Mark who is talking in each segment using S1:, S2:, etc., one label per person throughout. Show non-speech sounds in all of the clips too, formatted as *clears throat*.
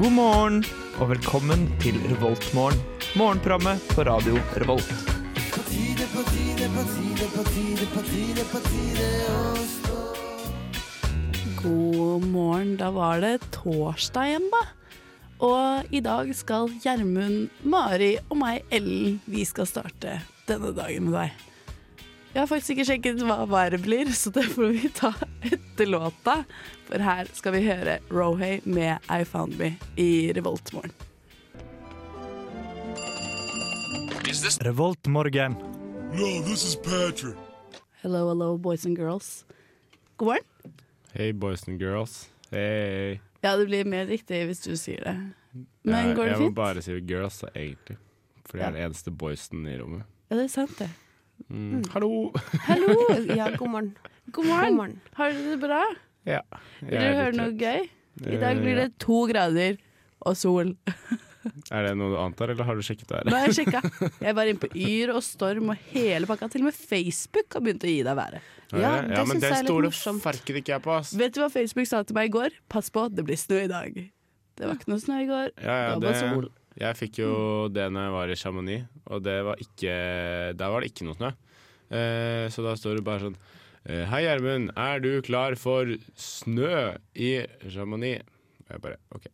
S1: God morgen og velkommen til Revoltmorgen. Morgenprogrammet på radio Revolt.
S2: God morgen, da var det torsdag igjen da. Og i dag skal Gjermund, Mari og meg, Ellen, vi skal starte denne dagen med deg. Jeg har faktisk ikke sjekket hva været blir, så det får vi ta etter låta. For her skal vi høre Rohay med I Found Me i Revoltmorgen.
S1: Revoltmorgen.
S3: No, this is Patrick.
S2: Hello, hello, boys and girls. God morgen.
S4: Hey boys and girls. Hey.
S2: Ja, det blir mer riktig hvis du sier det. Men
S4: jeg,
S2: går det
S4: Jeg må
S2: fint?
S4: bare si girls, da, egentlig. For jeg
S2: Ja.
S4: er den eneste boysen i rommet.
S2: Ja, det er sant det.
S4: Mm. Hallo!
S2: Hallo!
S5: Ja, god morgen.
S2: God
S5: God
S2: morgen.
S5: morgen.
S2: Har dere det bra?
S4: Ja.
S2: Vil du høre noe gøy? I dag
S4: Eh,
S2: blir det to grader og sol.
S4: Er det noe du antar, eller har du sjekket
S2: Nå
S4: været?
S2: har jeg sjekka. Jeg var inne på Yr og Storm og hele pakka. Til og med Facebook har begynt å gi deg været.
S5: Ja, det
S4: men
S5: synes jeg er litt
S4: stoler
S5: morsomt.
S4: farken ikke jeg på, ass.
S2: Vet du hva Facebook sa til meg i går? Pass på, det blir snø i dag. Det var ikke noe snø i går.
S4: Ja, ja,
S2: Det
S4: det,
S2: var bare sol.
S4: jeg fikk jo
S2: Mm.
S4: det når jeg var i Chamonix, og det var ikke, der var det ikke noe snø. Eh, så da står det bare sånn eh, Hei, Gjermund, er du klar for snø i Chamonix? Og jeg bare OK.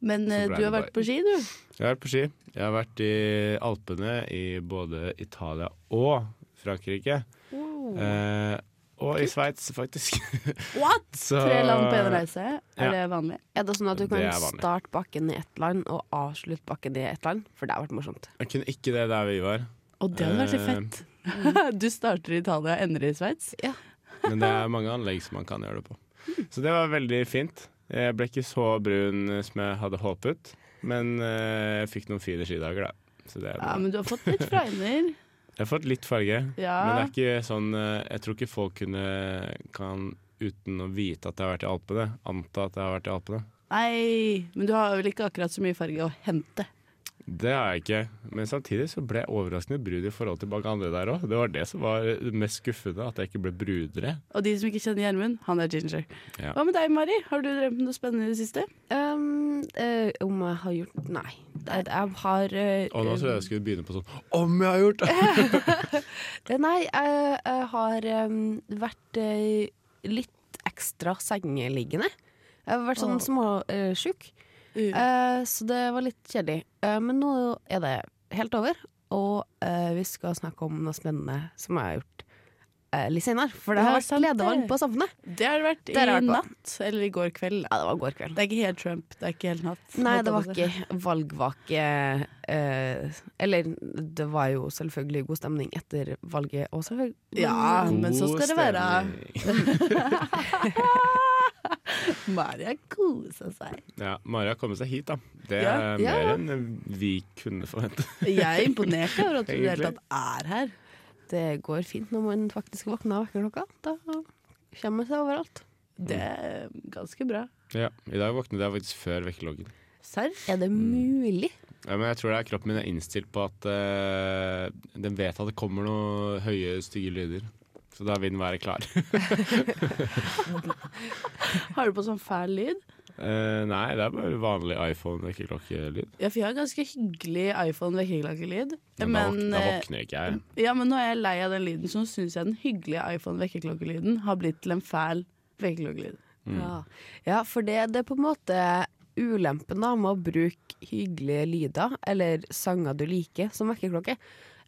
S2: Men eh,
S4: Så ble
S2: du har
S4: det
S2: vært på ski, du.
S4: Jeg har vært på ski. Jeg har vært i Alpene i både Italia og Frankrike. Eh, og i Sveits, faktisk. *laughs*
S2: What?!
S4: Så-
S2: Tre land på én reise.
S4: Ja.
S2: Er det vanlig?
S5: Er det sånn at du
S4: Det
S5: kan
S4: er vanlig.
S5: starte bakken i ett land og avslutte bakken i ett land? For det har vært morsomt.
S4: Jeg kunne ikke det der vi var,
S2: Og det hadde vært litt fett.
S4: Eh.
S2: *laughs* Du starter i Italia, ender i Sveits.
S4: men det er mange anlegg som man kan gjøre det på. Så det var veldig fint. Jeg ble ikke så brun som jeg hadde håpet, men eh, jeg fikk noen fine skidager, da. Så det er
S2: Ja,
S4: bra.
S2: men du har fått litt fregner.
S4: Jeg har fått litt farge, men det
S2: Ja.
S4: er ikke sånn eh, Jeg tror ikke folk kunne, kan, uten å vite at jeg har vært i Alpene, anta at jeg har vært i Alpene.
S2: Nei, men du har vel ikke akkurat så mye farge å hente.
S4: Det har jeg ikke. Men samtidig så ble jeg overraskende brud i forhold til mange andre der òg. Det var det som var det mest skuffende, at jeg ikke ble brudere.
S2: Og de som ikke kjenner Gjermund, han er ginger.
S4: Ja.
S2: Hva med deg, Mari? Har du drømt om noe spennende i det siste?
S5: Um, eh, om jeg har gjort Nei. Det, jeg har eh,
S4: Og nå trodde jeg jeg skulle begynne på sånn Om jeg har gjort det!
S5: eh, Nei, jeg, jeg har em, vært eh, litt ekstra sengeliggende. Jeg har vært sånn
S2: Åh.
S5: småsjuk, Uh.
S2: Eh,
S5: så det var litt kjedelig. Eh, men nå er det helt over, og eh, vi skal snakke om noe spennende som jeg har gjort eh, litt senere. For det
S2: Ja,
S5: har vært
S2: sant det.
S5: ledevalg på Samfunnet.
S2: det har det vært i
S5: Det har det vært på.
S2: natt, eller i går kveld.
S5: Ja, det var i går kveld.
S2: Det er ikke helt Trump, det er ikke helt natt.
S5: Nei,
S2: Holdt
S5: det
S2: jeg
S5: var
S2: på å si.
S5: ikke valgvake. eh, eller det var jo selvfølgelig god stemning etter valget og selvfølgelig
S2: Ja,
S5: men-
S2: men så skal det være. Mari har kosa seg.
S4: Ja, Mari har kommet seg hit, da. Det
S2: Ja.
S4: er
S5: Ja,
S4: mer
S5: ja.
S4: enn vi kunne forvente.
S2: Jeg er imponert over at du i det hele
S4: Egentlig.
S2: tatt er her.
S5: Det går fint når man faktisk våkner av vekkerklokka. Da kommer man seg overalt.
S2: Det er ganske bra.
S4: Ja, I dag våknet jeg faktisk før vekkerklokka.
S2: Serr?
S5: Er det mulig?
S4: Ja, men jeg tror det er kroppen min er innstilt på at eh, den vet at det kommer noen høye, stygge lyder. Så da vil den være klar.
S2: Har du på sånn fæl lyd?
S4: Eh, nei, det er bare vanlig iPhone-vekkerklokkelyd.
S2: Ja, for jeg har ganske hyggelig iPhone-vekkerklokkelyd.
S4: Men, da, våk da
S2: eh,
S4: våkner ikke jeg.
S2: Ja, men nå er jeg lei av den lyden, så nå syns jeg den hyggelige iPhone-vekkerklokkelyden har blitt til en fæl vekkerklokkelyd.
S5: Ja. ja, for det, det er på en måte ulempen da med å bruke hyggelige lyder eller sanger du liker som vekkerklokke.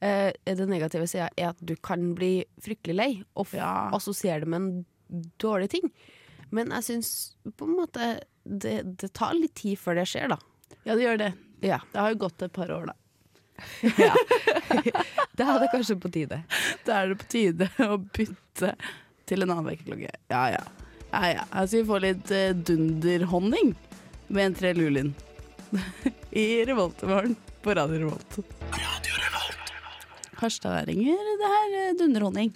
S5: Eh, den negative sida er at du kan bli fryktelig lei og f
S2: Ja.
S5: assosiere det med en dårlig ting. Men jeg syns på en måte det, det tar litt tid før det skjer, da.
S2: Ja, det gjør det.
S5: Ja.
S2: Det har jo gått et par år, da.
S5: Det hadde kanskje på tide.
S2: Da er det på tide *laughs* å bytte til en annen vekkerklokke. Ja ja. ja, ja. Her skal vi få litt eh, dunderhonning med en tre lulin. *laughs* I Revoltmorgen på Radio Revolt. Radio Revolt. Harstadværinger, det her. eh, Dunderhonning.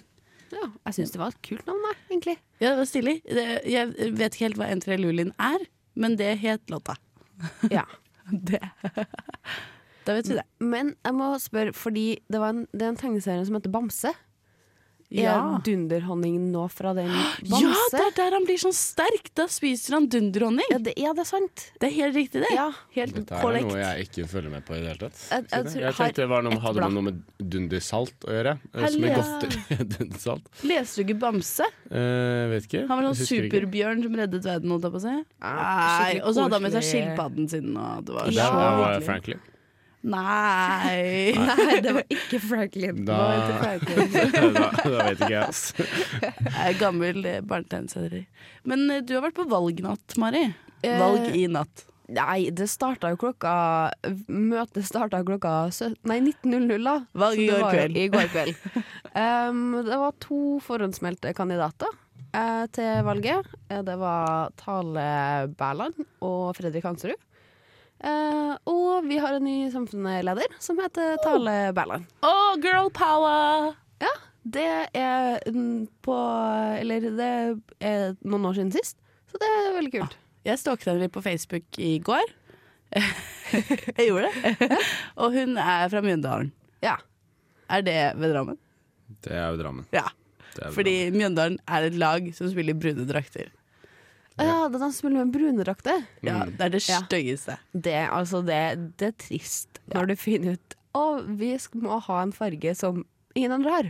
S5: Ja, jeg syns det var et kult navn, jeg, egentlig.
S2: Ja, det var stilig. Det, jeg vet ikke helt hva en tre lulin er, men det het låta.
S5: Ja.
S2: *laughs* Det. Da vet vi det.
S5: Men jeg må spørre, fordi det, var en, det er en tegneserie som heter Bamse. Er
S2: Ja.
S5: Eh, dunderhonningen nå fra den bamse?
S2: *gasps* Ja, det er der han blir sånn sterk! Da spiser han dunderhonning.
S5: Ja, det, ja, det er sant.
S2: Det er helt riktig, det.
S5: Ja.
S2: Helt
S4: Dette her er
S2: korrekt.
S4: noe jeg ikke følger med på i det hele tatt.
S5: Jeg- jeg
S4: Skjønner.
S5: tror-
S4: jeg tenkte det var noe,
S5: ett
S4: hadde
S5: blad.
S4: med noe med dundersalt å gjøre. eh, Som er
S2: Hello.
S4: godt *laughs* dundersalt.
S2: Leser du ikke Bamse?
S4: Eh, vet ikke.
S2: Han var
S4: Jeg
S2: sånn
S4: husker ikke.
S2: superbjørn som reddet verden, holdt jeg på å si.
S5: Ja,
S2: Nei,
S5: Ah, skikkelig
S2: Og så hadde han med seg
S5: koselig.
S2: skilpadden sin, og det var
S4: Det
S5: Ja.
S2: så
S4: var
S2: hyggelig.
S4: Franklin.
S2: *laughs* Nei.
S5: Nei, det var ikke Franklin.
S4: Da, *laughs* da, da vet ikke jeg, altså.
S2: Jeg er gammel eh, barnetegneserie. Men eh, du har vært på valgnatt, Mari.
S5: Eh,
S2: Valg i natt.
S5: Nei, det starta jo klokka Møtet starta klokka sø- Nei, 19.00, da.
S2: Valg i
S5: Så
S2: går
S5: det var jo
S2: kveld.
S5: I går kveld. *laughs* Em, det var to forhåndsmeldte kandidater eh, til valget. Eh, Det var Tale Berland og Fredrik Hansrud. Eh, og vi har en ny samfunnsleder som heter Tale Berland.
S2: Å, girl power!
S5: Ja, det er mm, på Eller det er noen år siden sist, så det er veldig kult.
S2: Jeg stalket henne litt på Facebook i går. *laughs* jeg gjorde det. og hun er fra Mjøndalen.
S5: Ja.
S2: Er det ved Drammen?
S4: Det er jo Drammen.
S2: Ja.
S4: Det er jo
S2: Fordi Mjøndalen er et lag som spiller i brune drakter.
S5: Å ja, det er han som spiller med brunedrakter.
S2: Ja, det er det
S5: Ja.
S2: styggeste.
S5: Det, altså det, det er trist når du finner ut å, vi sk- må ha en farge som ingen andre har.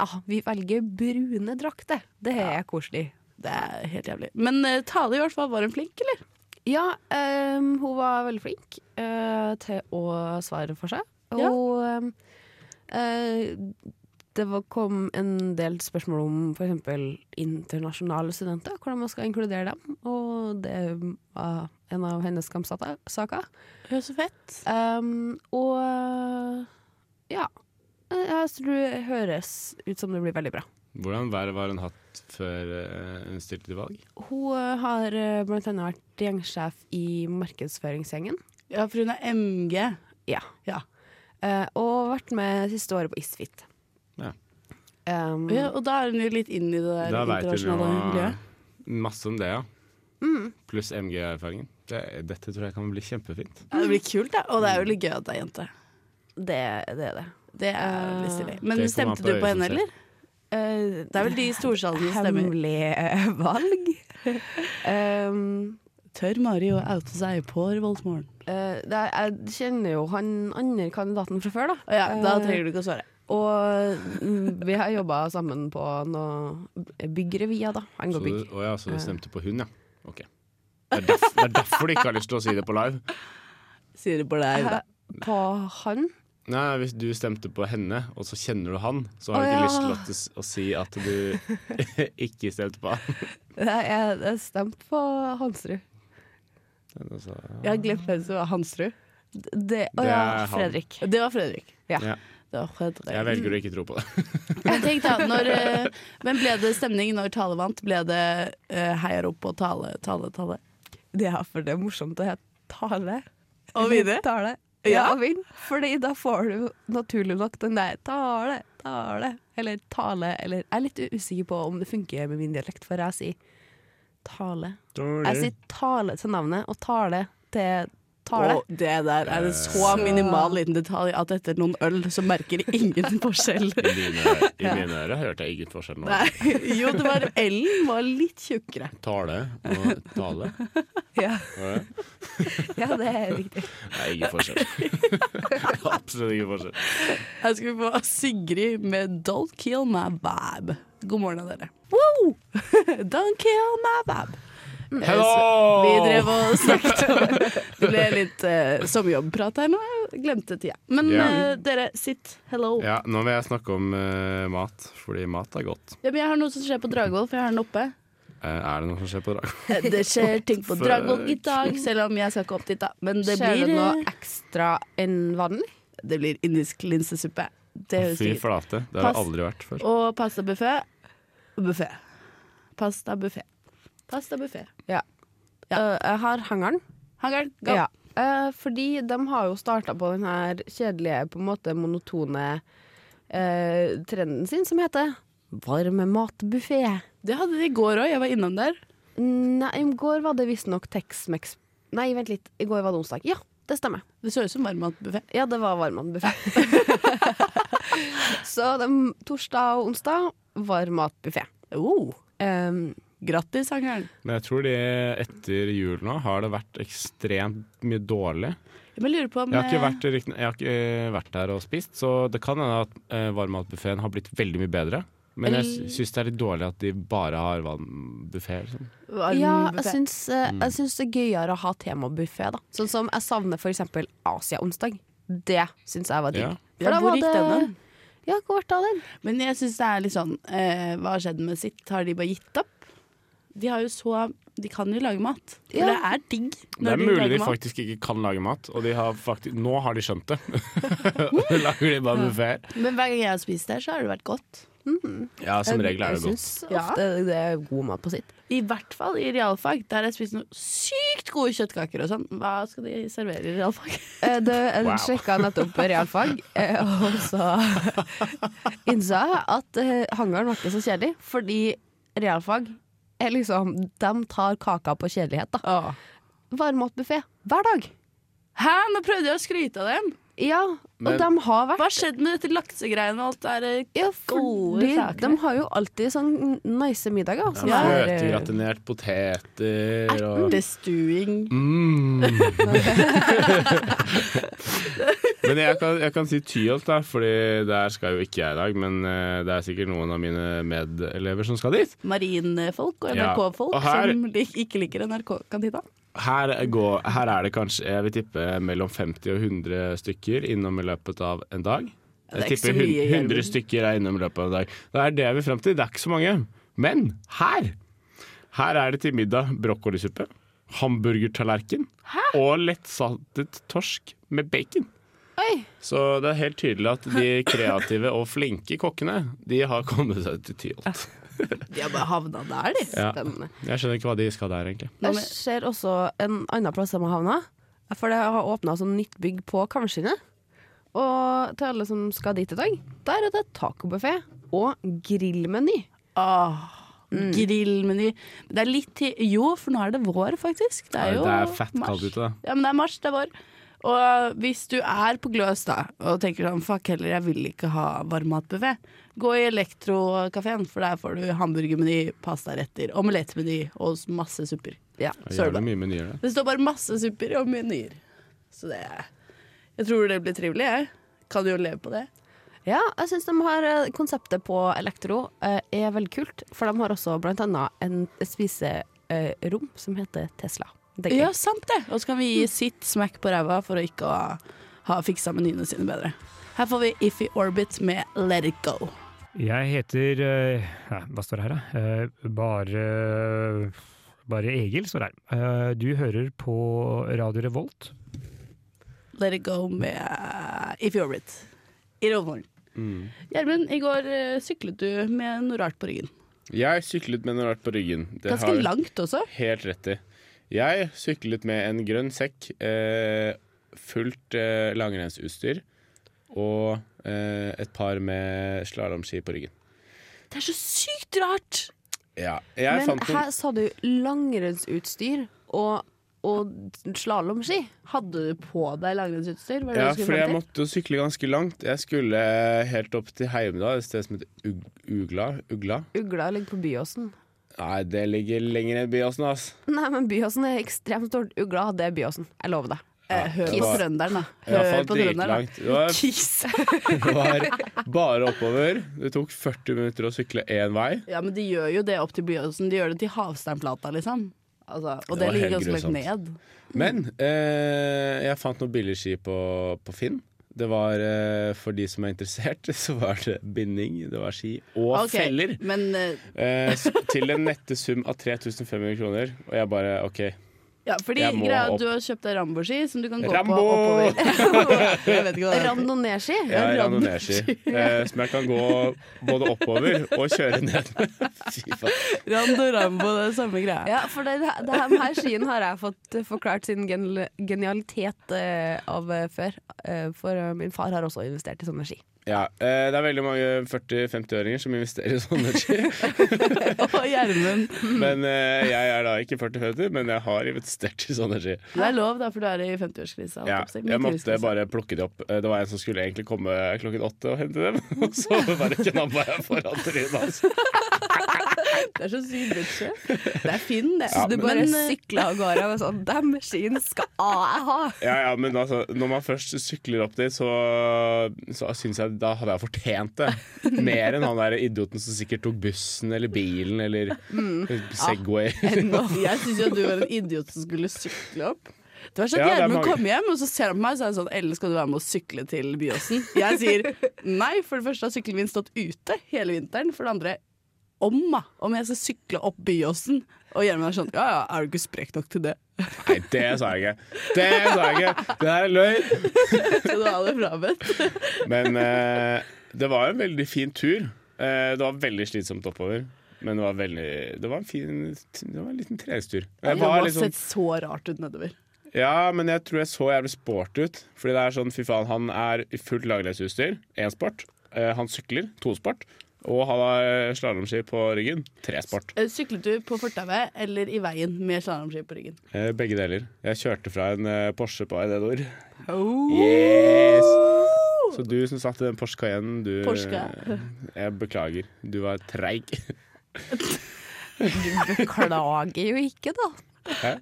S5: Ja, vi velger brune drakter. Det er koselig.
S2: Det er helt jævlig. Men eh, Tale i hvert fall var hun flink, eller?
S5: Ja, ehm, hun var veldig flink eh, til å svare for seg. Og
S2: Ja.
S5: ehm, eh, det var, kom en del spørsmål om f.eks. internasjonale studenter, hvordan man skal inkludere dem. Og det var en av hennes kampsaker. saker.
S2: Hun er så fett.
S5: Um, og ja. Eh, Jeg tror det høres ut som det blir veldig bra.
S4: Drammen. Hvordan været var hun hatt før eh, hun stilte til valg?
S5: Hun eh, har eh, blant annet vært gjengsjef i markedsføringsgjengen.
S2: Ja, for hun er MG.
S5: Ja.
S2: Ja.
S5: Eh, og vært med siste året på Isfit.
S4: Ja.
S5: Um,
S2: Ja, og da er hun jo litt inn i det der
S4: Da vet hun
S2: internasjonale Mm.
S4: jo
S2: miljøet.
S4: masse om det, ja. Pluss MG-erfaringen. Det, dette tror jeg kan bli kjempefint.
S2: Ja, det blir kult, da. Og det er jo litt gøy at det er jente.
S5: Det, det er det.
S2: Det er litt stilig. Men
S4: Det kommer an
S2: stemte
S4: på
S2: du
S4: øyet
S2: på
S4: som
S2: henne,
S4: ser.
S2: eller? Det er vel de i storsalene som stemmer.
S5: Eh, Hemmelig eh, *laughs* valg. um,
S2: Tør Mari å oute seg på Revoltmorgen?
S5: eh, det er, jeg kjenner jo han andre kandidaten fra før, da.
S2: Å ja, da
S5: Eh,
S2: trenger du ikke å svare.
S5: Og mm, vi har jobba sammen på noe byggrevyer, da. Han
S4: Så
S5: går
S4: du,
S5: bygg.
S4: å ja, så du stemte på hun, ja. Ok. Det er, derf, det er derfor du ikke har lyst til å si det på live.
S2: Sier det på deg. da.
S5: På han?
S4: Nei, Hvis du stemte på henne, og så kjenner du han, så har
S5: Å
S4: du ikke
S5: ja.
S4: lyst til at, det s- å si at du *laughs* ikke stemte på han.
S5: Jeg, jeg stemte på Hansrud.
S4: Men altså,
S2: Jeg har glemt hvem som var Hansrud.
S5: Det, å
S4: Det
S5: ja,
S4: er han.
S5: Fredrik.
S2: Det var Fredrik.
S4: Ja.
S2: Det var Fredrik.
S4: Jeg velger å ikke tro på det.
S2: Men tenk da, når, eh, men ble det stemning når Tale vant? Ble det eh, heier opp og Tale, Tale, Tale?
S5: Det er for det er morsomt å hete Tale.
S2: Og vinne?
S5: *laughs* Tale. Ja,
S2: Ja.
S5: og vinn. Fordi da får du naturlig nok den der Tale, Tale, eller Tale, eller Jeg er litt usikker på om det funker med min dialekt, for jeg sier Tale. Jeg sier Tale til navnet, og Tale til Tale.
S2: Og det der er en så minimal liten detalj at etter noen øl så merker ingen *laughs* forskjell.
S4: I mine, i mine ører hørte jeg ingen forskjell nå.
S2: Nei, *laughs* jo, det var Ellen var litt tjukkere.
S4: Tale og tale.
S5: Ja.
S4: Ja,
S5: *laughs* ja, det er riktig.
S4: Det er ingen
S2: *laughs*
S4: forskjell. *laughs* Absolutt ingen forskjell.
S2: Her skal vi få Sigrid med 'Don't Kill My Vab'. God morgen, dere. *laughs* Don't kill my vab.
S4: Hello!
S2: Vi drev og snakket om *laughs* Det ble litt eh, sommerjobbprat her nå. Jeg glemte tida. Men
S4: Ja.
S2: eh, dere, sitt. Hello.
S4: Ja, nå vil jeg snakke om eh, mat, fordi mat er godt.
S2: Ja, men jeg har noe som skjer på Dragvoll, for jeg har den oppe.
S4: Eh, er det noe som skjer på dag?
S2: Eh, *laughs* Det skjer ting på Dragvoll i dag, selv om jeg skal ikke opp dit, da. Men det
S5: Skjer
S2: blir,
S5: det noe
S2: eh,
S5: ekstra enn vanlig?
S2: det blir indisk linsesuppe. Det høres
S4: Fy
S2: digg ut.
S4: flate. Det har
S2: Pass.
S4: det aldri vært før.
S2: Og pastabuffé. Buffé. Pastabuffé. Pastabuffé.
S5: Ja. Eh, jeg har hangaren.
S2: Hangaren, go!
S5: Ja. Eh, fordi de har jo starta på den her kjedelige, på en måte monotone eh, trenden sin som heter varme matbuffé.
S2: Det hadde de i går òg, jeg var innom der.
S5: Nei, i går var det visstnok Tex-Mex Nei, vent litt. I går var det onsdag. Ja, det stemmer.
S2: Det ser ut som varmmatbuffé.
S5: Ja, det var
S2: *laughs*
S5: varmmatbuffé. så det er torsdag og onsdag var matbuffé.
S2: Oh,
S5: Um,
S2: grattis, Angeren.
S4: Men jeg tror de etter jul nå har det vært ekstremt mye dårlig.
S2: Jeg bare lurer på om
S4: Jeg har ikke
S2: eh,
S4: vært, riktig- jeg har ikke eh, vært der og spist, så det kan hende at eh, varmmatbuffeen har blitt veldig mye bedre. Men jeg
S2: Eller-
S4: syns det er litt dårlig at de bare har varmbuffé. Liksom.
S5: ja, jeg
S2: eh, varmbuffé.
S5: syns, eh,
S4: Mm.
S5: jeg syns det er gøyere å ha temabuffé, da. Sånn som jeg savner for eksempel Asia-onsdag. Det syns jeg var digg.
S4: Ja.
S5: For
S2: Ja,
S5: da
S2: hvor
S5: var
S2: gikk den
S5: det-
S2: hen?
S5: Ja, hvor ble det av den?
S2: Men jeg syns det er litt sånn eh, Hva har skjedd med sitt? Har de bare gitt opp? De har jo så De kan jo lage mat. For
S5: Ja.
S2: det er digg
S4: Det
S2: når
S4: er
S2: de
S4: mulig de
S2: lager mat.
S4: faktisk ikke kan lage mat, og de har faktisk, nå har de skjønt
S2: *laughs*
S4: det. Og lager de bare buffeer.
S2: Men hver gang jeg har spist der, så har det vært godt.
S4: Ja, som regel er det
S5: Jeg
S4: godt.
S5: syns
S2: Ja.
S5: ofte det er god mat på sitt.
S2: I hvert fall i realfag. Der har jeg spist noen sykt gode kjøttkaker og sånn. Hva skal de servere i realfag? *laughs*
S5: Eh, Det, jeg
S4: Wow.
S5: sjekka nettopp realfag, eh, og så *laughs* innså jeg at eh, hangaren var ikke så kjedelig. Fordi realfag er liksom De tar kaka på kjedelighet, da. Varmmatbuffé hver dag.
S2: Hæ, nå prøvde jeg å skryte av dem!
S5: Ja, og
S4: Men-
S5: de har
S2: Hva
S5: vært
S2: har skjedd med dette laksegreiene og alt det eh, der?
S5: ja, fordi
S2: saker.
S5: De har jo alltid sånn nice middager. Som
S2: Ja.
S5: er, eh,
S4: Fløtegratinert poteter og
S2: Ertestuing.
S4: Mm. men jeg kan, jeg kan si Tyholt, da, Fordi der skal jo ikke jeg i dag. Men eh, det er sikkert noen av mine medelever som skal dit.
S2: Marinfolk og
S4: Ja.
S2: NRK-folk
S4: Og her-
S2: som lik- ikke liker NRK-kantina.
S4: Her, går, her er det kanskje jeg vil tippe mellom 50 og 100 stykker innom i løpet av en dag.
S2: det er
S4: Jeg
S2: ikke så
S4: tipper hun-
S2: mye, Gjermund.
S4: 100 stykker er innom i løpet av en dag. Det er det jeg vil fram til. Det er ikke så mange. Men her! Her er det til middag brokkolisuppe, hamburgertallerken og lettsaltet torsk med bacon.
S5: Oi,
S4: Så det er helt tydelig at de kreative og flinke kokkene De har kommet seg til Tyholt.
S2: De har bare havna der, de.
S4: Ja.
S5: spennende.
S4: Jeg skjønner ikke hva de skal der, egentlig.
S2: Nå
S5: Jeg
S2: med-
S5: ser også en annen plass de har havna. For det har åpna sånn nytt bygg på Kammersynet. Og til alle som skal dit i dag, der er det tacobuffé og grillmeny.
S2: Åh, grillmeny. Det er litt tid Jo, for nå er det vår, faktisk. Det er jo
S4: det er fett
S2: mars.
S4: kaldt ute, da.
S2: Ja, men det er mars, det er vår. Og hvis du er på Gløs da og tenker sånn fuck heller, jeg vil ikke ha varmmatbuffé, gå i Elektrokafeen, for der får du hamburgermeny, pastaretter, omelettmeny og masse supper.
S5: Ja.
S4: Det er
S2: Søren, da.
S4: jævlig mye menyer der.
S2: Det står bare masse supper og menyer. Så det Jeg tror det blir trivelig, jeg. Kan jo leve på det.
S5: ja, jeg syns eh, konseptet på Elektro eh, er veldig kult. For de har også blant annet en spiserom eh, som heter Tesla. Det er
S2: Ja,
S5: gøy.
S2: sant det. Og så kan vi gi sitt smekk på ræva for å ikke ha, ha fiksa menyene sine bedre. Her får vi Iffy Orbit med Let It Go.
S6: Jeg heter eh, ja, Hva står det her, da? Eh, Bare bare Egil står det her. Eh, Du hører på Radio Revolt.
S2: Let It Go med eh, Iffy Orbit. I rovmorgen.
S4: Mm.
S2: Gjermund, i går eh, syklet du med noe rart på ryggen.
S4: Jeg syklet med noe rart på ryggen. Det
S2: Ganske
S4: har du
S2: langt også.
S4: Helt rett i. Jeg syklet med en grønn sekk, eh, fullt eh, langrennsutstyr og eh, et par med slalåmski på ryggen.
S2: Det er så sykt rart!
S4: Ja, jeg
S5: Men
S4: fant noen
S5: her sa du langrennsutstyr og, og slalåmski.
S2: Hadde du på deg langrennsutstyr? Var det
S4: ja,
S2: det du skulle
S4: for jeg
S2: frem til?
S4: måtte jo sykle ganske langt. Jeg skulle eh, helt opp til Heimdal, et sted som heter Ug Ugla. Ugla.
S5: Ugla ligger på Byåsen. *laughs*
S4: Nei, det ligger lenger enn Byåsen, ass.
S5: Nei, men Byåsen er ekstremt stort. Ugla, det er Byåsen. Jeg lover deg.
S2: Eh, Hør
S4: det
S2: på
S4: var-
S2: trønderen, da.
S4: I hvert
S2: Hør
S4: fall
S2: på trønderen,
S4: dritlangt. Det var
S2: da. *laughs* Kiss.
S4: Det
S5: *laughs*
S4: var bare oppover. Det tok 40 minutter å sykle én vei.
S2: Ja, men de gjør jo det opp til Byåsen. De gjør det til Havsteinplata, liksom. Altså, og
S4: Det
S2: det,
S4: var
S2: ligger
S4: helt
S2: ganske langt
S4: grusomt.
S2: ned.
S4: Men eh, jeg fant noen billigski på, på Finn. Det var, eh, For de som er interessert, *laughs* så var det binding, det var ski og
S2: Ok,
S4: feller.
S2: Men eh,
S4: Eh, s- til en nette sum av 3500 kroner. Og jeg bare OK.
S2: ja, fordi
S4: Jeg må
S2: greia er
S4: opp.
S2: at du har kjøpt deg Rambo-ski som du kan gå
S4: Rambo! *laughs*
S2: på oppover. jeg vet ikke hva det er.
S5: Randonee-ski?
S4: Jeg har randoneeski eh, som jeg kan gå både oppover og kjøre ned med. *laughs* Fy faen.
S2: Rando Rambo, det er samme greia.
S5: Ja, for det, det her, den her skien har jeg fått eh, forklart sin gen genialitet eh, av eh, før. Eh, for eh, min far har også investert i sånne ski.
S4: Ja, eh, Det er veldig mange 40-50-åringer som investerer i sånne ski.
S2: *laughs* Og Gjermund.
S4: Men eh, jeg er da ikke 40-50, men jeg har investert i sånne ski.
S2: Det er lov, da, for du er i 50-årskrisa. holdt
S4: Ja,
S2: på å si.
S4: jeg måtte
S2: Midtlivskrisa.
S4: bare plukke de opp. Eh, Det var en som skulle egentlig komme klokken åtte og hente dem, *laughs* og så bare knabba jeg foran trynet altså. hans.
S2: Det er så sykt bitchy. Det er Finn, det.
S5: Så du bare
S2: Men, eh,
S5: sykla av gårde og sånn Dem skien skal jeg ha!
S4: Ja, ja, men altså, når man først sykler opp dit, så, så syns jeg da hadde jeg fortjent det. Mer enn han der idioten som sikkert tok bussen eller bilen eller Segway.
S2: *laughs* Jeg syns jo at du var en idiot som skulle sykle opp. Det var sånn
S4: Ja, det
S2: at
S4: er
S2: Gjermund
S4: mange-
S2: kom hjem, og så ser han på meg og så er han sånn Ellen, skal du være med å sykle til Byåsen? Jeg sier nei, for det første har sykkelen min stått ute hele vinteren. For det andre, om da, om jeg skal sykle opp Byåsen. Og Gjermund er sånn ja ja, er du ikke sprek nok til det? *laughs*
S4: Nei, det sa jeg ikke. Det sa jeg ikke! Det der er løgn!
S2: Skal du ha det frabedt?
S4: Men eh, det var en veldig fin tur. Eh, det var veldig slitsomt oppover. Men det var, veldig, det var en fin Det var en liten treningstur. Jeg
S2: Det
S4: var
S2: har
S4: litt sånn-
S2: sett så rart ut nedover.
S4: Ja, men jeg tror jeg så jævlig sport ut. Fordi det er sånn, fy faen, han er i fullt lagleisutstyr. Én sport. Eh, han sykler. To sport. Og han har eh, slalåmski på ryggen. Tre sport.
S2: Eh, Syklet du på fortauet eller i veien med slalåmski på ryggen?
S4: Eh, begge deler. Jeg kjørte fra en eh, Porsche på Aidedor.
S2: Oh.
S4: Yes! Så du som satt i den Porsche Cayenne, du eh,
S2: Porsche.
S4: Jeg beklager. Du var treig.
S5: Du beklager jo ikke, da.
S4: Hæ?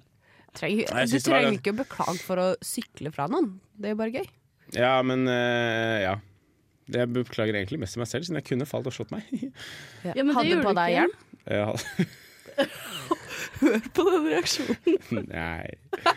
S5: Trenger,
S4: Nei, jeg
S5: du
S4: synes det var
S5: trenger
S4: gøy.
S5: ikke å beklage for å sykle fra noen. Det er jo bare gøy.
S4: Ja, men eh, ja. Jeg beklager egentlig mest til meg selv, siden jeg kunne falt og slått meg. *laughs*
S2: Ja, men det
S5: Hadde
S2: gjorde
S5: på
S2: du
S5: deg
S2: ikke.
S5: *laughs* hjelm.
S4: Jeg hadde-
S2: På den reaksjonen.
S4: Nei.
S5: Hva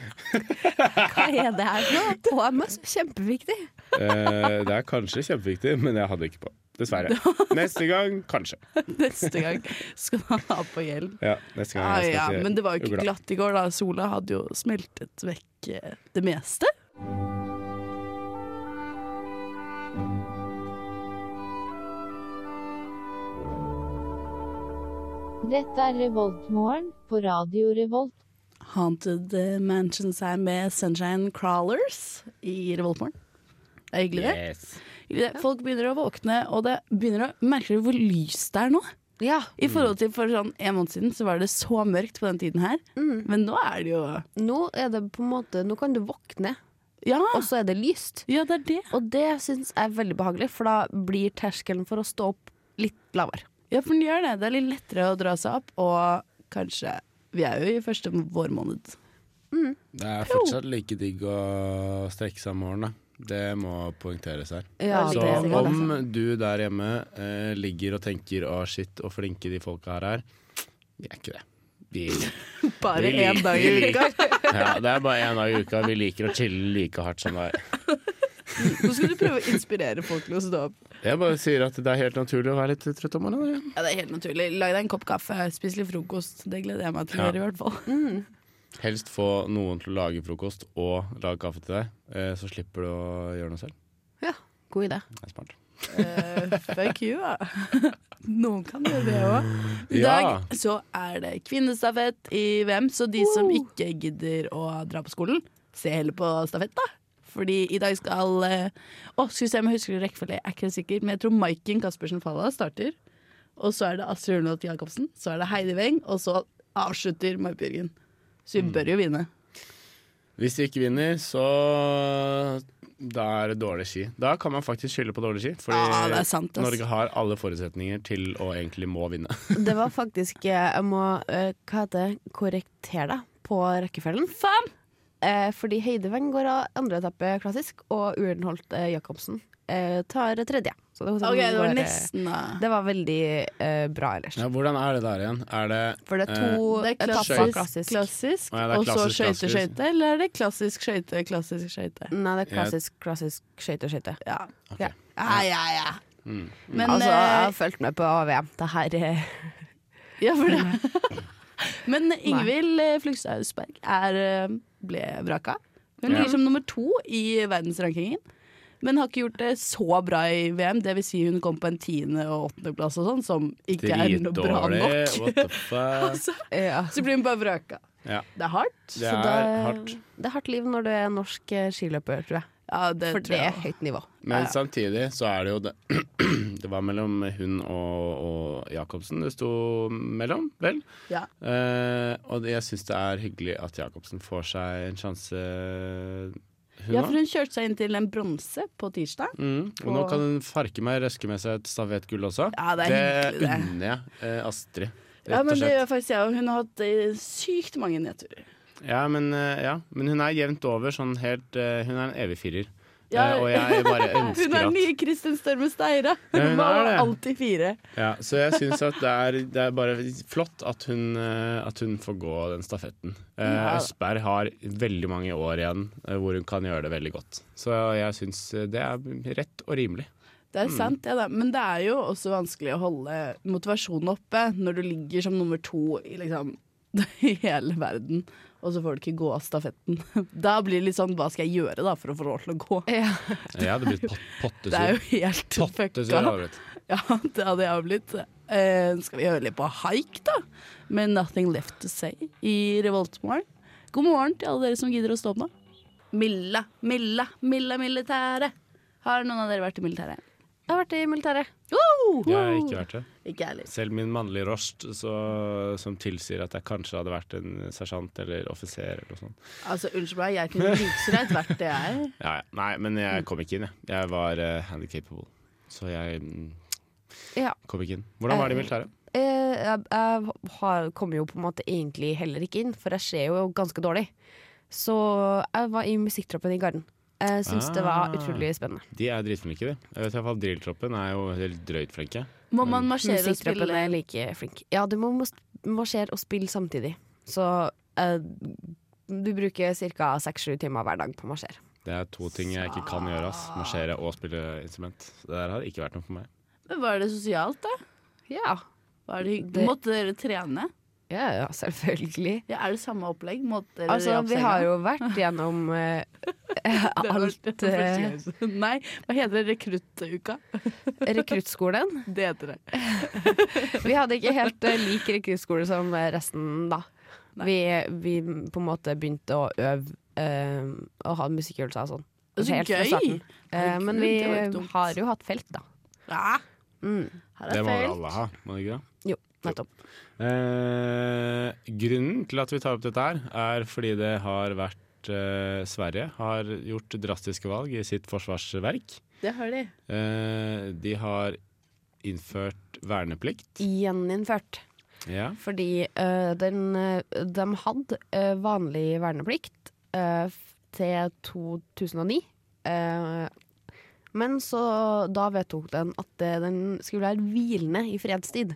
S5: er det her for noe? HMS, kjempeviktig.
S4: Eh, det er kanskje kjempeviktig, men jeg hadde ikke på. Dessverre. Neste gang, kanskje.
S2: Neste gang skal du ha på hjelm.
S4: Ja, neste gang
S2: Ah,
S4: jeg skal
S2: ja,
S4: til
S2: men det var jo ikke
S4: Ugla.
S2: glatt i går, da. Sola hadde jo smeltet vekk eh, det meste.
S7: Dette er Revoltmorgen på Radio Revolt.
S2: Haunted eh, Mansions her med Sunshine Crawlers i Revoltmorgen. Det er hyggelig, det.
S4: Yes.
S2: Hyggelig det. Folk begynner å våkne, og det begynner å merke hvor lyst det er nå.
S5: Ja,
S4: Mm.
S2: I forhold til for sånn en måned siden, så var det så mørkt på den tiden her. Men nå er det jo
S5: nå er det på en måte Nå kan du våkne,
S2: Ja,
S5: og så er det lyst.
S2: ja det er det.
S5: Og det syns jeg er veldig behagelig, for da blir terskelen for å stå opp litt lavere.
S2: Ja, for den gjør det. Det er litt lettere å dra seg opp, og kanskje Vi er jo i første vårmåned.
S4: Det er fortsatt like digg å strekke seg om morgenen. da. Det må poengteres her.
S5: Ja,
S4: Så
S5: det er sikkert.
S4: om du der hjemme eh, ligger og tenker 'å, shit, og flinke de folka her er', vi er ikke det. Vi,
S2: Bare
S4: vi liker-
S2: én dag i uka. *laughs*
S4: ja, det er bare én dag i uka. Vi liker å chille like hardt som deg.
S2: Nå skal du prøve å inspirere folk til å stå opp.
S4: Jeg bare sier at det er helt naturlig å være litt trøtt om morgenen. ja.
S2: Ja, Det er helt naturlig. Lag deg en kopp kaffe, spis litt frokost. Det gleder jeg meg til å
S4: Ja.
S2: gjøre, i hvert fall.
S4: Helst få noen til å lage frokost og lage kaffe til deg, eh, så slipper du å gjøre noe selv.
S5: Ja, god idé.
S4: Det er smart.
S2: Eh, fuck you, da. *laughs* Noen kan gjøre det òg. I
S4: Ja.
S2: dag så er det kvinnestafett i VM, så de som ikke gidder å dra på skolen, se heller på stafett, da. Fordi i dag skal eh, Å, skal vi se om jeg husker rekkefølge, jeg er ikke helt sikker, men jeg tror Maiken Caspersen Falla starter. Og så er det Astrid Ørnholt Jacobsen, så er det Heidi Weng, og så avslutter Marit Bjørgen. Så
S4: Mm.
S2: vi bør jo vinne.
S4: Hvis de ikke vinner, så da er det dårlig ski. Da kan man faktisk skylde på dårlig ski, fordi
S2: Ah, det er sant, ass.
S4: Norge har alle forutsetninger til å egentlig må vinne. *laughs*
S5: Det var faktisk eh, Jeg må eh, hva heter det, korrektere deg på rekkefølgen.
S2: Faen!
S5: Eh, fordi Heideveng går av andre etappe klassisk, og Urenholt eh, Jacobsen eh, tar tredje. Så det,
S2: Ok, det var
S5: går, eh,
S2: nesten, da.
S5: Det var veldig eh, bra ellers.
S4: Ja, hvordan er det der igjen? Er det
S5: For det er to
S2: Det er
S5: etapper
S2: klassisk, klassisk.
S5: klassisk.
S4: Å ja, det er
S2: og så
S4: klassisk,
S2: skøyte,
S4: klassisk.
S2: skøyte, eller er det klassisk skøyte, klassisk skøyte?
S5: Nei, det er klassisk, klassisk skøyte, skøyte.
S2: Ja.
S5: Ja.
S2: Ja, ja, ja.
S4: Mm.
S2: Men
S5: Altså, jeg
S2: eh,
S5: har fulgt med på VM. Det her eh,
S2: Ja, for det.
S5: *laughs*
S2: Men Ingvild eh, Flugstad Austberg er, eh, ble vraka. Hun
S4: Ja.
S2: ligger som nummer to i verdensrankingen. Men har ikke gjort det så bra i VM. Det vil si hun kom på en tiende- og åttendeplass og sånn, som ikke er noe bra nok. *laughs*
S4: What the fuck?
S2: Så,
S5: ja.
S2: så blir hun bare vraka.
S4: Ja.
S2: Det er hardt.
S4: Det
S5: Så
S4: er hardt.
S5: det er hardt liv når du er norsk eh, skiløper, tror jeg. Ja, det,
S2: For
S5: det
S2: det-
S5: er høyt nivå.
S4: Men
S2: Ja.
S4: samtidig så er det jo det *clears throat* Det var mellom hun og, og Jacobsen det sto mellom, vel?
S2: Ja.
S4: Eh, og det, jeg syns det er hyggelig at Jacobsen får seg en sjanse, hun
S2: Ja, for
S4: òg.
S2: hun kjørte seg inn til en bronse på tirsdag.
S4: Mm. Og nå kan hun farke meg røske med seg et stavettgull også.
S2: Ja, det er hyggelig, det.
S4: unner jeg eh, Astrid,
S2: Ja,
S4: rett
S2: men
S4: og
S2: det
S4: slett.
S2: gjør faktisk jeg, og hun har hatt eh, sykt mange nedturer.
S4: Ja, men, eh, ja. men hun er jevnt over sånn helt eh, Hun er en evig firer.
S2: Ja.
S4: Eh, og jeg bare
S2: *laughs* Hun
S4: ønsker
S2: er
S4: at
S2: nye Kristin Størme Steira.
S4: Ja,
S2: Hun
S4: hun er
S2: var
S4: det.
S2: alltid fire.
S4: Ja, så jeg syns at det er, det er bare flott at hun, eh, at hun får gå den stafetten. Eh,
S2: Ja.
S4: Østberg har veldig mange år igjen eh, hvor hun kan gjøre det veldig godt. Så jeg syns det er rett og rimelig.
S2: Det
S4: Mm.
S2: er sant, det, da. Men det er jo også vanskelig å holde motivasjonen oppe når du ligger som nummer to i liksom *laughs* i hele verden, og så får du ikke gå av stafetten. *laughs* Da blir det litt sånn hva skal jeg gjøre da for å få lov til å gå?
S4: Jeg hadde blitt pot
S2: *laughs* Det er jo
S4: pottesur.
S2: helt
S4: Pottesur
S2: fucka.
S4: hadde jeg blitt.
S2: *laughs* Ja, det hadde jeg blitt. Eh, skal vi høre litt på haik, da? Med 'Nothing Left To Say' i Revoltmorgen. God morgen til alle dere som gidder å stå opp nå. Milla, Milla, Milla militære. Har noen av dere vært i militæret?
S5: Jeg har vært i militæret.
S4: Jeg har ikke vært det.
S2: Ikke jeg liksom. heller.
S4: Selv min mannlige rost så, som tilsier at jeg kanskje hadde vært en sersjant eller offiser eller noe sånt.
S2: Altså, unnskyld meg, jeg kunne like så greit vært det jeg er.
S4: Ja, ja. Nei, men jeg kom ikke inn, jeg. Jeg var uh, handicapable. Så jeg mm,
S5: Ja.
S4: kom ikke inn. Hvordan var det i militæret?
S5: Eh, Jeg, jeg har, kom jo på en måte egentlig heller ikke inn, for jeg ser jo ganske dårlig. Så jeg var i musikktroppen i Garden. Jeg syns
S4: Ah.
S5: det var utrolig spennende.
S4: De er dritflinke, de. Jeg vet i hvert fall Drilltroppen er jo helt drøyt flinke.
S2: Må man marsjere og
S5: Musikktroppen
S2: spille
S5: er like flink. Ja, du må mos- marsjere og spille samtidig. Så eh, du bruker ca. seks-sju timer hver dag på å marsjere.
S4: Det er to ting jeg ikke kan gjøre. ass Marsjere og spille instrument. Det der har ikke vært noe for meg.
S2: Men Var det sosialt, da?
S5: Ja.
S2: Var det hyggelig?
S5: Det-
S2: Måtte dere trene?
S5: Ja, ja, selvfølgelig.
S2: Ja, er det samme opplegg? Måtte dere
S5: Altså,
S2: opp
S5: vi
S2: senga?
S5: har jo vært gjennom eh,
S2: *laughs* Det var- *laughs* det
S5: alt
S2: var
S5: eh,
S2: første gang. Nei, hva heter det? Rekruttuka?
S5: eh, rekruttskolen.
S2: Det heter det.
S5: Vi hadde ikke helt eh, lik rekruttskole som eh, resten da. Vi, vi på en måte begynte å øve eh, og ha musikkøvelser og sånn.
S2: Så
S5: Helt fra
S2: gøy!
S5: starten. Eh,
S2: Herregud,
S5: men vi
S2: det var ikke dumt.
S5: har jo hatt felt, da.
S2: Ja,
S5: Mm,
S2: her
S4: Det
S2: er
S4: må vel
S2: feil.
S4: alle ha, må det ikke det?
S5: jo, nettopp.
S4: Eh, grunnen til at vi tar opp dette her, er fordi det har vært eh, Sverige har gjort drastiske valg i sitt forsvarsverk.
S2: Det har de.
S4: Eh, de har innført verneplikt.
S5: Gjeninnført.
S4: Ja.
S5: Fordi eh, den, eh, de hadde eh, vanlig verneplikt eh, f- til 2009. eh, men så da vedtok den at eh, den skulle være hvilende i fredstid.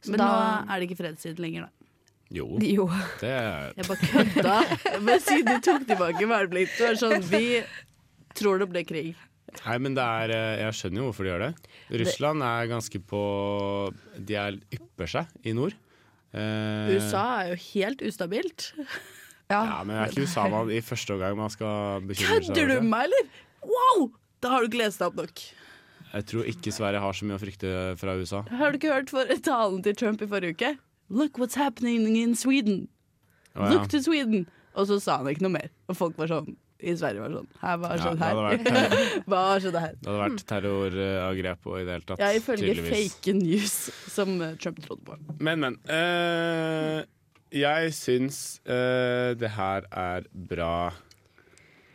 S5: Så
S2: Men
S5: da,
S2: nå er det ikke fredstid lenger, da.
S4: Jo,
S5: Jo.
S4: det er
S2: Jeg bare kødda. *laughs* Men siden de tok tilbake verneplikt, så er det sånn Vi tror det ble krig.
S4: Nei, men det er eh, Jeg skjønner jo hvorfor de gjør det. Russland er ganske på De er ypper seg i nord. Eh,
S2: USA er jo helt ustabilt.
S4: Ja, men er ikke USA man i første omgang man skal bekymre seg
S2: Kødder du
S4: over?
S2: med meg, eller? Wow! Da har du ikke lest deg opp nok.
S4: det? Jeg tror ikke Sverige har så mye å frykte fra USA.
S2: Har du ikke hørt for talen til Trump i forrige uke? Look what's happening in Sweden.
S4: Å, ja.
S2: Look to Sweden. Og så sa han ikke noe mer. Og folk var sånn i Sverige var sånn Her, hva
S4: Ja,
S2: skjedde
S4: det hadde vært,
S2: her?
S4: terror-
S2: *laughs* Hva skjedde her?
S4: det hadde vært terrorangrep og i det hele tatt.
S2: Ja, ifølge
S4: tydeligvis.
S2: fake news som eh, Trump trodde på.
S4: Men, men. eh, jeg syns eh, det her er bra.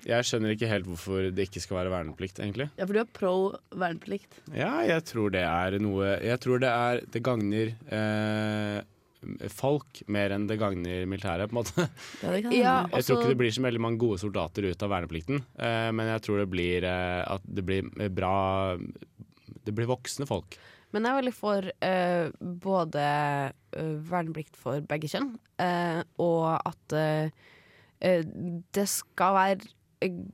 S4: Jeg skjønner ikke helt hvorfor det ikke skal være verneplikt, egentlig.
S2: Ja, for du er pro verneplikt.
S4: Ja, jeg tror det er noe Jeg tror det er Det gagner eh, folk mer enn det gagner militæret, på en måte.
S2: Ja, det kan
S5: Ja,
S2: hende.
S4: Jeg tror
S5: også-
S4: ikke det blir så veldig mange gode soldater ut av verneplikten, eh, men jeg tror det blir eh, at det blir bra Det blir voksne folk.
S5: Men jeg er veldig for eh, både eh, verneplikt for begge kjønn, eh, og at eh, eh, det skal være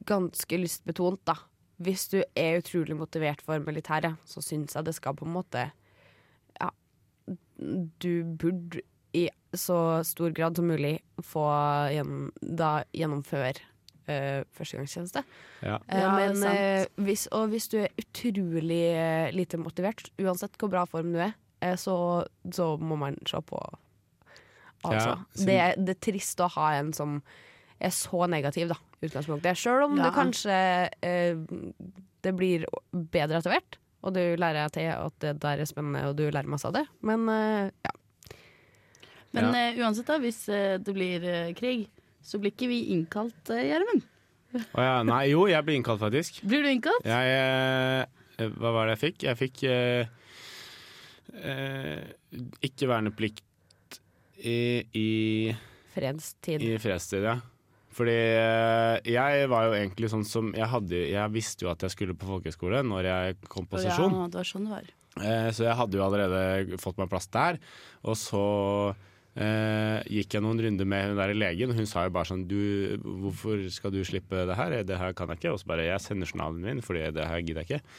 S5: ganske lystbetont, da. Hvis du er utrolig motivert for militæret, så syns jeg det skal på en måte Ja, du burde i så stor grad som mulig få gjennom, da, gjennomføre eh, førstegangstjeneste.
S4: Ja.
S5: Eh,
S2: Ja, det er
S5: men
S2: sant.
S5: eh, hvis, og hvis du er utrolig eh, lite motivert, uansett hvor bra form du er, eh, så, så må man se på. Altså,
S4: Ja, sin-
S5: det, er, det er trist å ha en som er så negativ, da, i utgangspunktet. Sjøl om
S2: Ja.
S5: det kanskje eh, det blir bedre etter hvert, og du lærer deg til at det der er spennende, og du lærer masse av det. Men eh, ja.
S2: Men eh, uansett, da, hvis eh, det blir eh, krig, så blir ikke vi innkalt, eh, Gjermund.
S4: Å ja, nei, jo, jeg ble innkalt, faktisk.
S2: Blir du innkalt?
S4: Jeg eh, Hva var det jeg fikk? Jeg fikk eh, eh, ikke verneplikt i, i
S5: fredstid.
S4: I fredstid, ja. Fordi eh, jeg var jo egentlig sånn som Jeg, hadde, jeg visste jo at jeg skulle på folkehøyskole når jeg kom på sesjon.
S2: Ja, det var sånn det var.
S4: Eh, så jeg hadde jo allerede fått meg plass der. Og så eh, gikk jeg noen runder med hun der i legen. Hun sa jo bare sånn du, 'Hvorfor skal du slippe det her? Det her kan jeg ikke.' Og så bare 'Jeg sender journalen min, fordi det her gidder jeg ikke'.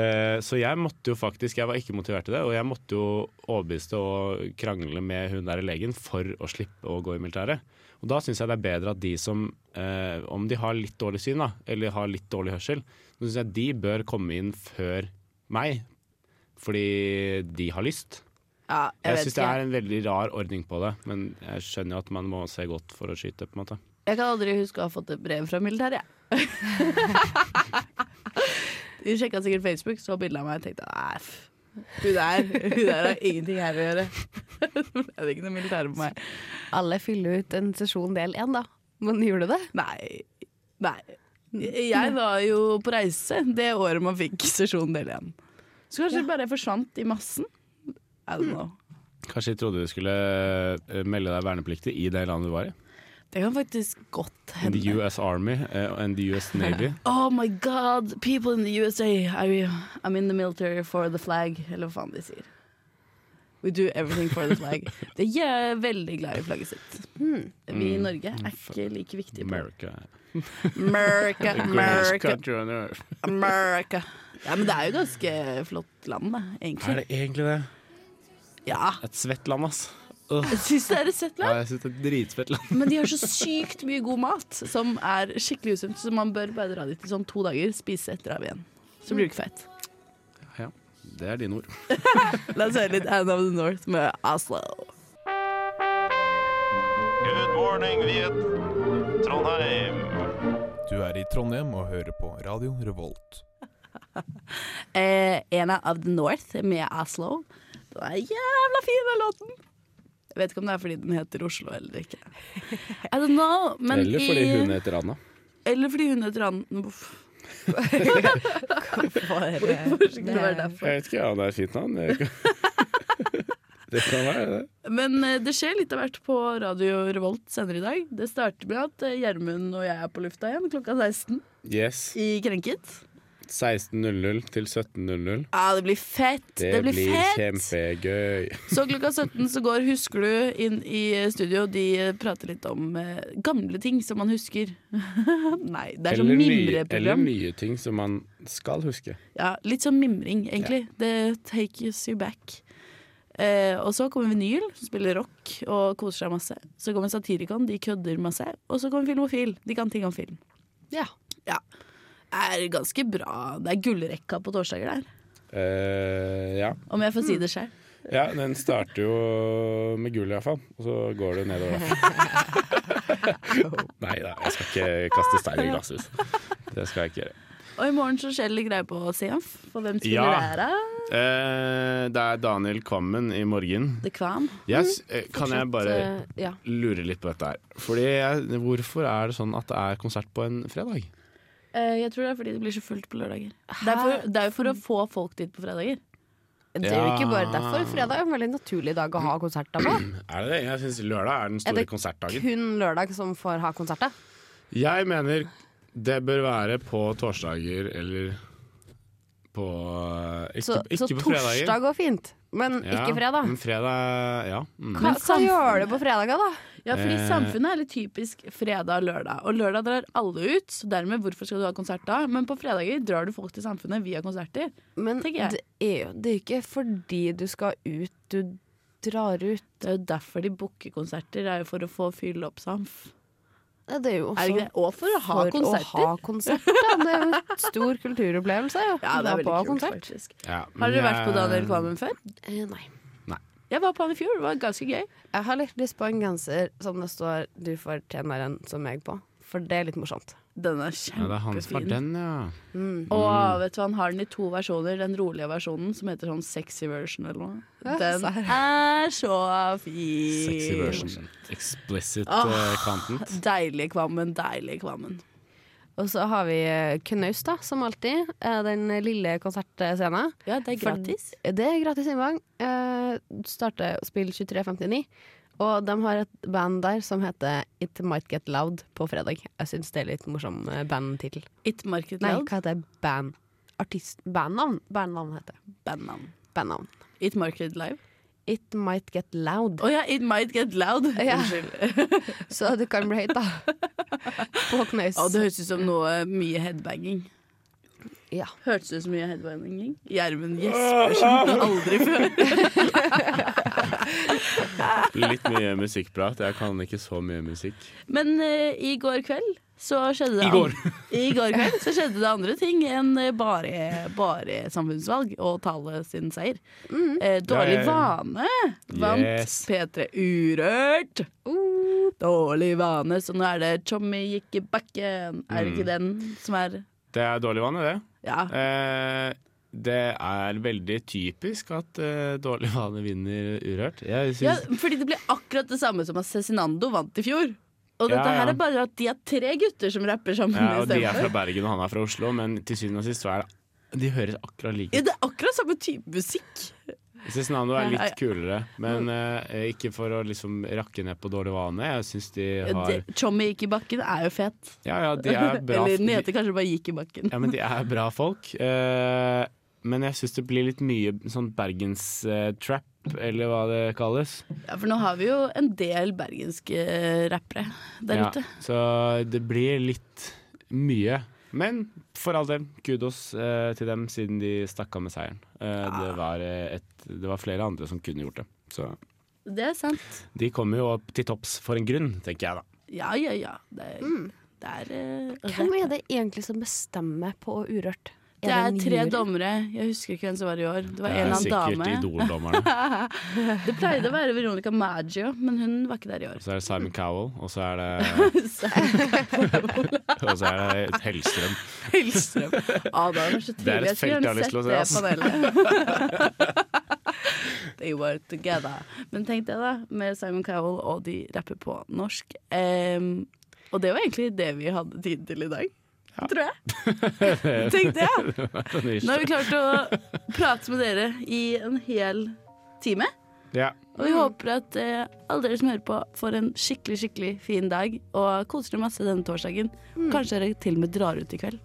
S4: Eh, Så jeg måtte jo faktisk, jeg var ikke motivert til det, og jeg måtte jo overbevise og krangle med hun der i legen for å slippe å gå i militæret. Og da syns jeg det er bedre at de som, eh, om de har litt dårlig syn, da, eller har litt dårlig hørsel, så syns jeg de bør komme inn før meg, fordi de har lyst.
S5: Ja,
S4: Jeg, synes syns det er en veldig rar ordning på det, men jeg skjønner jo at man må se godt for å skyte, på en måte.
S2: Jeg kan aldri huske å ha fått et brev fra militæret, jeg. De sjekka sikkert Facebook, så bilde av meg og tenkte æh, f- hun der, hun der har ingenting her å gjøre. *laughs* Det er ikke noe militære på meg.
S5: Alle fyller ut en sesjon del én, da. Men gjorde du det?
S2: Nei. Nei. Mm. Jeg var jo på reise det året man fikk sesjon del én. Så kanskje det bare forsvant i massen. I don't know.
S4: Kanskje de trodde du skulle eh, melde deg vernepliktig i det landet du var i.
S2: Det kan faktisk godt
S4: In the
S2: hende.
S4: US Army eh, and the
S2: *laughs*
S4: US Navy.
S2: Oh my god, people in the USA, I, I'm in the military for the flag, eller hva faen de sier. We do everything for the *laughs* flag. Hmm. De er veldig glad i flagget sitt. Vi i Norge er ikke like viktige på
S4: America. *laughs* The
S2: America,
S4: greatest
S2: America,
S4: country on earth.
S2: America. Ja, men det er jo ganske flott land, da,
S4: Er
S2: egentlig.
S4: det egentlig det?
S2: Ja.
S4: Et svett land, ass.
S2: Jeg syns det er et søtt
S4: Ja,
S2: land,
S4: jeg synes det er et dritsvett land.
S2: men de har så sykt mye god mat som er skikkelig usunt, så man bør bare dra dit i sånn to dager, spise etter av igjen. Så blir du ikke feit.
S4: Ja, det er dine ord.
S2: La oss høre litt Anne of the North med Oslo.
S8: Good morning, Viet. Trondheim.
S9: Du er i Trondheim og hører på Radio Revolt.
S2: Eh, Anna of the North med Oslo. Den er jævla fin, den låten! Jeg vet ikke om det er fordi den heter Oslo eller ikke. I don't know, men
S4: Eller fordi
S2: i,
S4: hun heter Anna.
S2: Eller fordi hun heter Anne
S4: *laughs*
S2: Uff. Hvorfor skulle det være derfor?
S4: Jeg vet ikke, Anna er et fint navn. Jeg vet ikke. *laughs* Det kan være det.
S2: Men eh, det skjer litt av hvert på Radio Revolt senere i dag. Det starter med at eh, Gjermund og jeg er på lufta igjen klokka 16
S4: Yes.
S2: i Krenket.
S4: 16.00 til 17.00.
S2: Ja, det blir fett! Det, blir, fett!
S4: kjempegøy.
S2: Så klokka 17 så går Husker du inn i eh, studio. De prater litt om eh, gamle ting som man husker. *laughs* Nei, det er sånn
S4: Eller nye- Eller
S2: mimreprogram.
S4: nye ting som man skal huske.
S2: Ja, litt sånn mimring, egentlig. Det takes you back. Eh, og så kommer Vinyl, som spiller rock og koser seg masse. Så kommer Satirikon, de kødder masse. Og så kommer Filmofil, de kan ting om film.
S5: Ja.
S2: Ja. Er ganske bra. Det er gullrekka på torsdager der,
S4: Eh, ja.
S2: om jeg får si det sjøl.
S4: ja, den starter jo med gull iallfall, og så går det nedover.
S2: *laughs*
S4: Nei da, jeg skal ikke kaste stein i glasshus. Det skal jeg ikke gjøre.
S2: Og i morgen så skjer det litt greier på CMF, for hvem spiller
S4: Ja.
S2: der, da?
S4: Eh, det er Daniel Kvammen i morgen.
S2: The Kvam.
S4: Yes,
S2: Mm,
S4: eh, kan jeg bare
S5: Fortsatt, eh, ja.
S4: lure litt på dette her? Fordi jeg, Hvorfor er det sånn at det er konsert på en fredag?
S2: Eh, Jeg tror det er fordi det blir så fullt på lørdager. Det er, for, det er jo for å få folk dit på fredager.
S5: Det er jo ikke bare
S4: Ja. Mm.
S5: derfor. Fredag er jo en veldig naturlig dag å ha konserter på.
S4: Er det det? Jeg syns lørdag er den
S5: Er
S4: store
S5: det
S4: konsertdagen.
S5: Kun lørdag som får ha konserter.
S4: Jeg mener det bør være på torsdager eller på eh, Ikke,
S5: Så,
S4: ikke
S5: så
S4: på fredager.
S5: torsdag går fint, men
S4: Ja, Mm.
S5: ikke fredag.
S4: Men fredag, ja. Mm.
S5: Hva,
S2: Men
S5: hva gjør du på fredager, da?
S2: Ja, fordi
S4: Eh.
S2: samfunnet er litt typisk fredag og lørdag. Og lørdag drar alle ut, så dermed hvorfor skal du ha konsert da? Men på fredager drar du folk til samfunnet via konserter.
S5: Men det
S2: Tenker jeg.
S5: er, jo, det er jo ikke fordi du skal ut, du drar ut.
S2: Det er jo derfor de booker konserter, det er jo for å få fylle opp samf.
S5: Ja, Det er jo også
S2: Er det ikke det? Og for å ha
S5: for
S2: konserter.
S5: å ha konserter. Det er jo en stor kulturopplevelse. Jo.
S2: *laughs* Ja, det
S5: Dra
S2: er
S5: på
S2: veldig kult,
S5: konsert.
S2: faktisk.
S4: Ja,
S2: Har
S4: men
S2: dere vært på
S4: jeg-
S2: Daniel Kvammen før?
S5: Eh, Nei.
S2: Jeg var på han i fjor, det var ganske gøy.
S5: Jeg har litt lyst på en genser som det står 'du fortjener en som meg' på, for det er litt morsomt.
S2: Den
S4: Ja,
S2: er
S4: det er han som har
S2: kjempefin.
S4: den, Mm. ja.
S2: Og vet du hva, han har den i to versjoner. Den rolige versjonen som heter sånn sexy version eller noe. Den er så fin.
S4: Sexy version. Explicit
S2: Åh.
S4: eh, content.
S2: Deilig Kvammen, deilig Kvammen.
S5: Og så har vi eh, Knaus, da, som alltid. eh, Den lille konsertscenen.
S2: Ja, det er
S5: For-
S2: gratis.
S5: Det er gratis inngang. Eh, starter å spille 23.59. Og de har et band der som heter It Might Get Loud på fredag. Jeg syns det er litt morsom eh, bandtittel.
S2: It Market
S5: Nei,
S2: Loud.
S5: hva heter det? Band... Artist... Bandnavn? Bandnavn heter det.
S2: Bandnavn.
S5: Bandnavn.
S2: It Market Live.
S5: It Might Get Loud.
S2: Å ja, It Might Get Loud.
S5: Ja.
S2: Unnskyld.
S5: Så det kan bli høyt, *laughs* da. På knaus.
S2: Å, det høres ut som noe eh, mye headbanging.
S5: Ja.
S2: Hørtes det ut som mye headbanging? Gjermund gjesper som *laughs* aldri før.
S4: *laughs* Litt mye musikkprat. Jeg kan ikke så mye musikk.
S2: Men eh, i går kveld så skjedde det
S4: I går.
S2: an- I går kveld så skjedde det andre ting enn eh, bare, bare samfunnsvalg og tale sin seier. Eh, dårlig
S4: Det er-
S2: vane vant
S4: Yes.
S2: P3 Urørt. Dårlig vane, så nå er det Tjommi gikk i bakken. Er det
S4: Mm.
S2: ikke den som er
S4: Det er dårlig vane, det.
S2: Ja.
S4: Eh, det er veldig typisk at eh, dårlig vane vinner urørt. Jeg
S2: ja,
S4: syns
S2: fordi det ble akkurat det samme som at Cezinando vant i fjor. Og
S4: Ja,
S2: dette
S4: ja.
S2: her er bare at de er tre gutter som rapper sammen.
S4: ja, og De er fra
S2: istedenfor.
S4: Bergen, og han er fra Oslo, men til syvende og sist så er det de høres akkurat like
S2: Ja,
S4: ut.
S2: det er akkurat samme type musikk.
S4: Cezinando er
S2: Ja, ja.
S4: litt kulere, men eh, ikke for å liksom rakke ned på dårlig vane. Jeg syns de har
S2: Det- Tjommi gikk i bakken er jo fet.
S4: Ja, ja, de
S2: *laughs*
S4: er bra.
S2: Eller den heter kanskje bare gikk i bakken.
S4: Ja, men de er bra folk. Eh, men jeg syns det blir litt mye sånn bergenstrap, eller hva det kalles.
S2: Ja, for nå har vi jo en del bergenske eh, rappere der
S4: Ja,
S2: ute.
S4: så det blir litt mye. Men for all del, kudos eh, til dem siden de stakk av med seieren. Eh,
S2: Ah.
S4: det, var, eh, et, det var flere andre som kunne gjort det. Så
S2: Det er sant.
S4: de kommer jo opp til topps for en grunn, tenker jeg da.
S2: Ja, ja, ja. Det er, det er, eh,
S5: Mm. Hvem er det egentlig som bestemmer på Urørt?
S2: det
S5: en
S2: er tre
S5: jury?
S2: dommere. Jeg husker ikke hvem som var i år. Det var
S4: Det er
S2: en eller annen
S4: sikkert
S2: dame.
S4: Idol-dommerne.
S2: *laughs* Det pleide å være Veronica Maggio, men hun var ikke der i
S4: Og
S2: år.
S4: så er det Simon Cowell, og så er det,
S2: *laughs* Så
S4: og så er det Hellstrøm.
S2: *laughs*
S4: *laughs*
S2: Hellstrøm. Ah, det, var så
S4: Det er et
S2: trivelig. Jeg skulle
S4: felt jeg har
S2: gjerne
S4: lyst til å
S2: sett
S4: se,
S2: det panelet.
S4: *laughs*
S2: *laughs* They were together. Men tenk det, da. Med Simon Cowell, og de rapper på norsk. Em, og det var egentlig det vi hadde tid til i dag. Tror jeg. Tenk det!
S4: *laughs*
S2: ja. Nå har vi klart å prate med dere i en hel time.
S4: Ja.
S2: Og vi håper at eh, alle dere som hører på, får en skikkelig skikkelig fin dag og koser dere masse denne torsdagen. Kanskje dere til og med drar ut i kveld.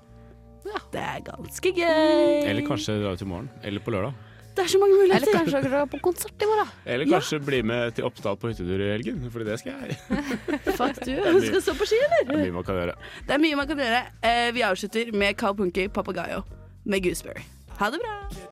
S2: Det er ganske gøy.
S4: Eller kanskje dra ut i morgen. Eller på lørdag.
S2: Det er så mange muligheter.
S5: Eller kanskje dere går på konsert i morgen?
S4: Eller kanskje bli med til Oppdal på hyttetur i helgen, for det skal
S2: *laughs*
S4: jeg.
S2: Fuck du. Skal du stå på ski, eller?
S4: Det er mye man kan gjøre.
S2: Det er mye man kan gjøre. Eh, vi avslutter med Carl Punky Papagayo med Gooseberry. Ha det bra.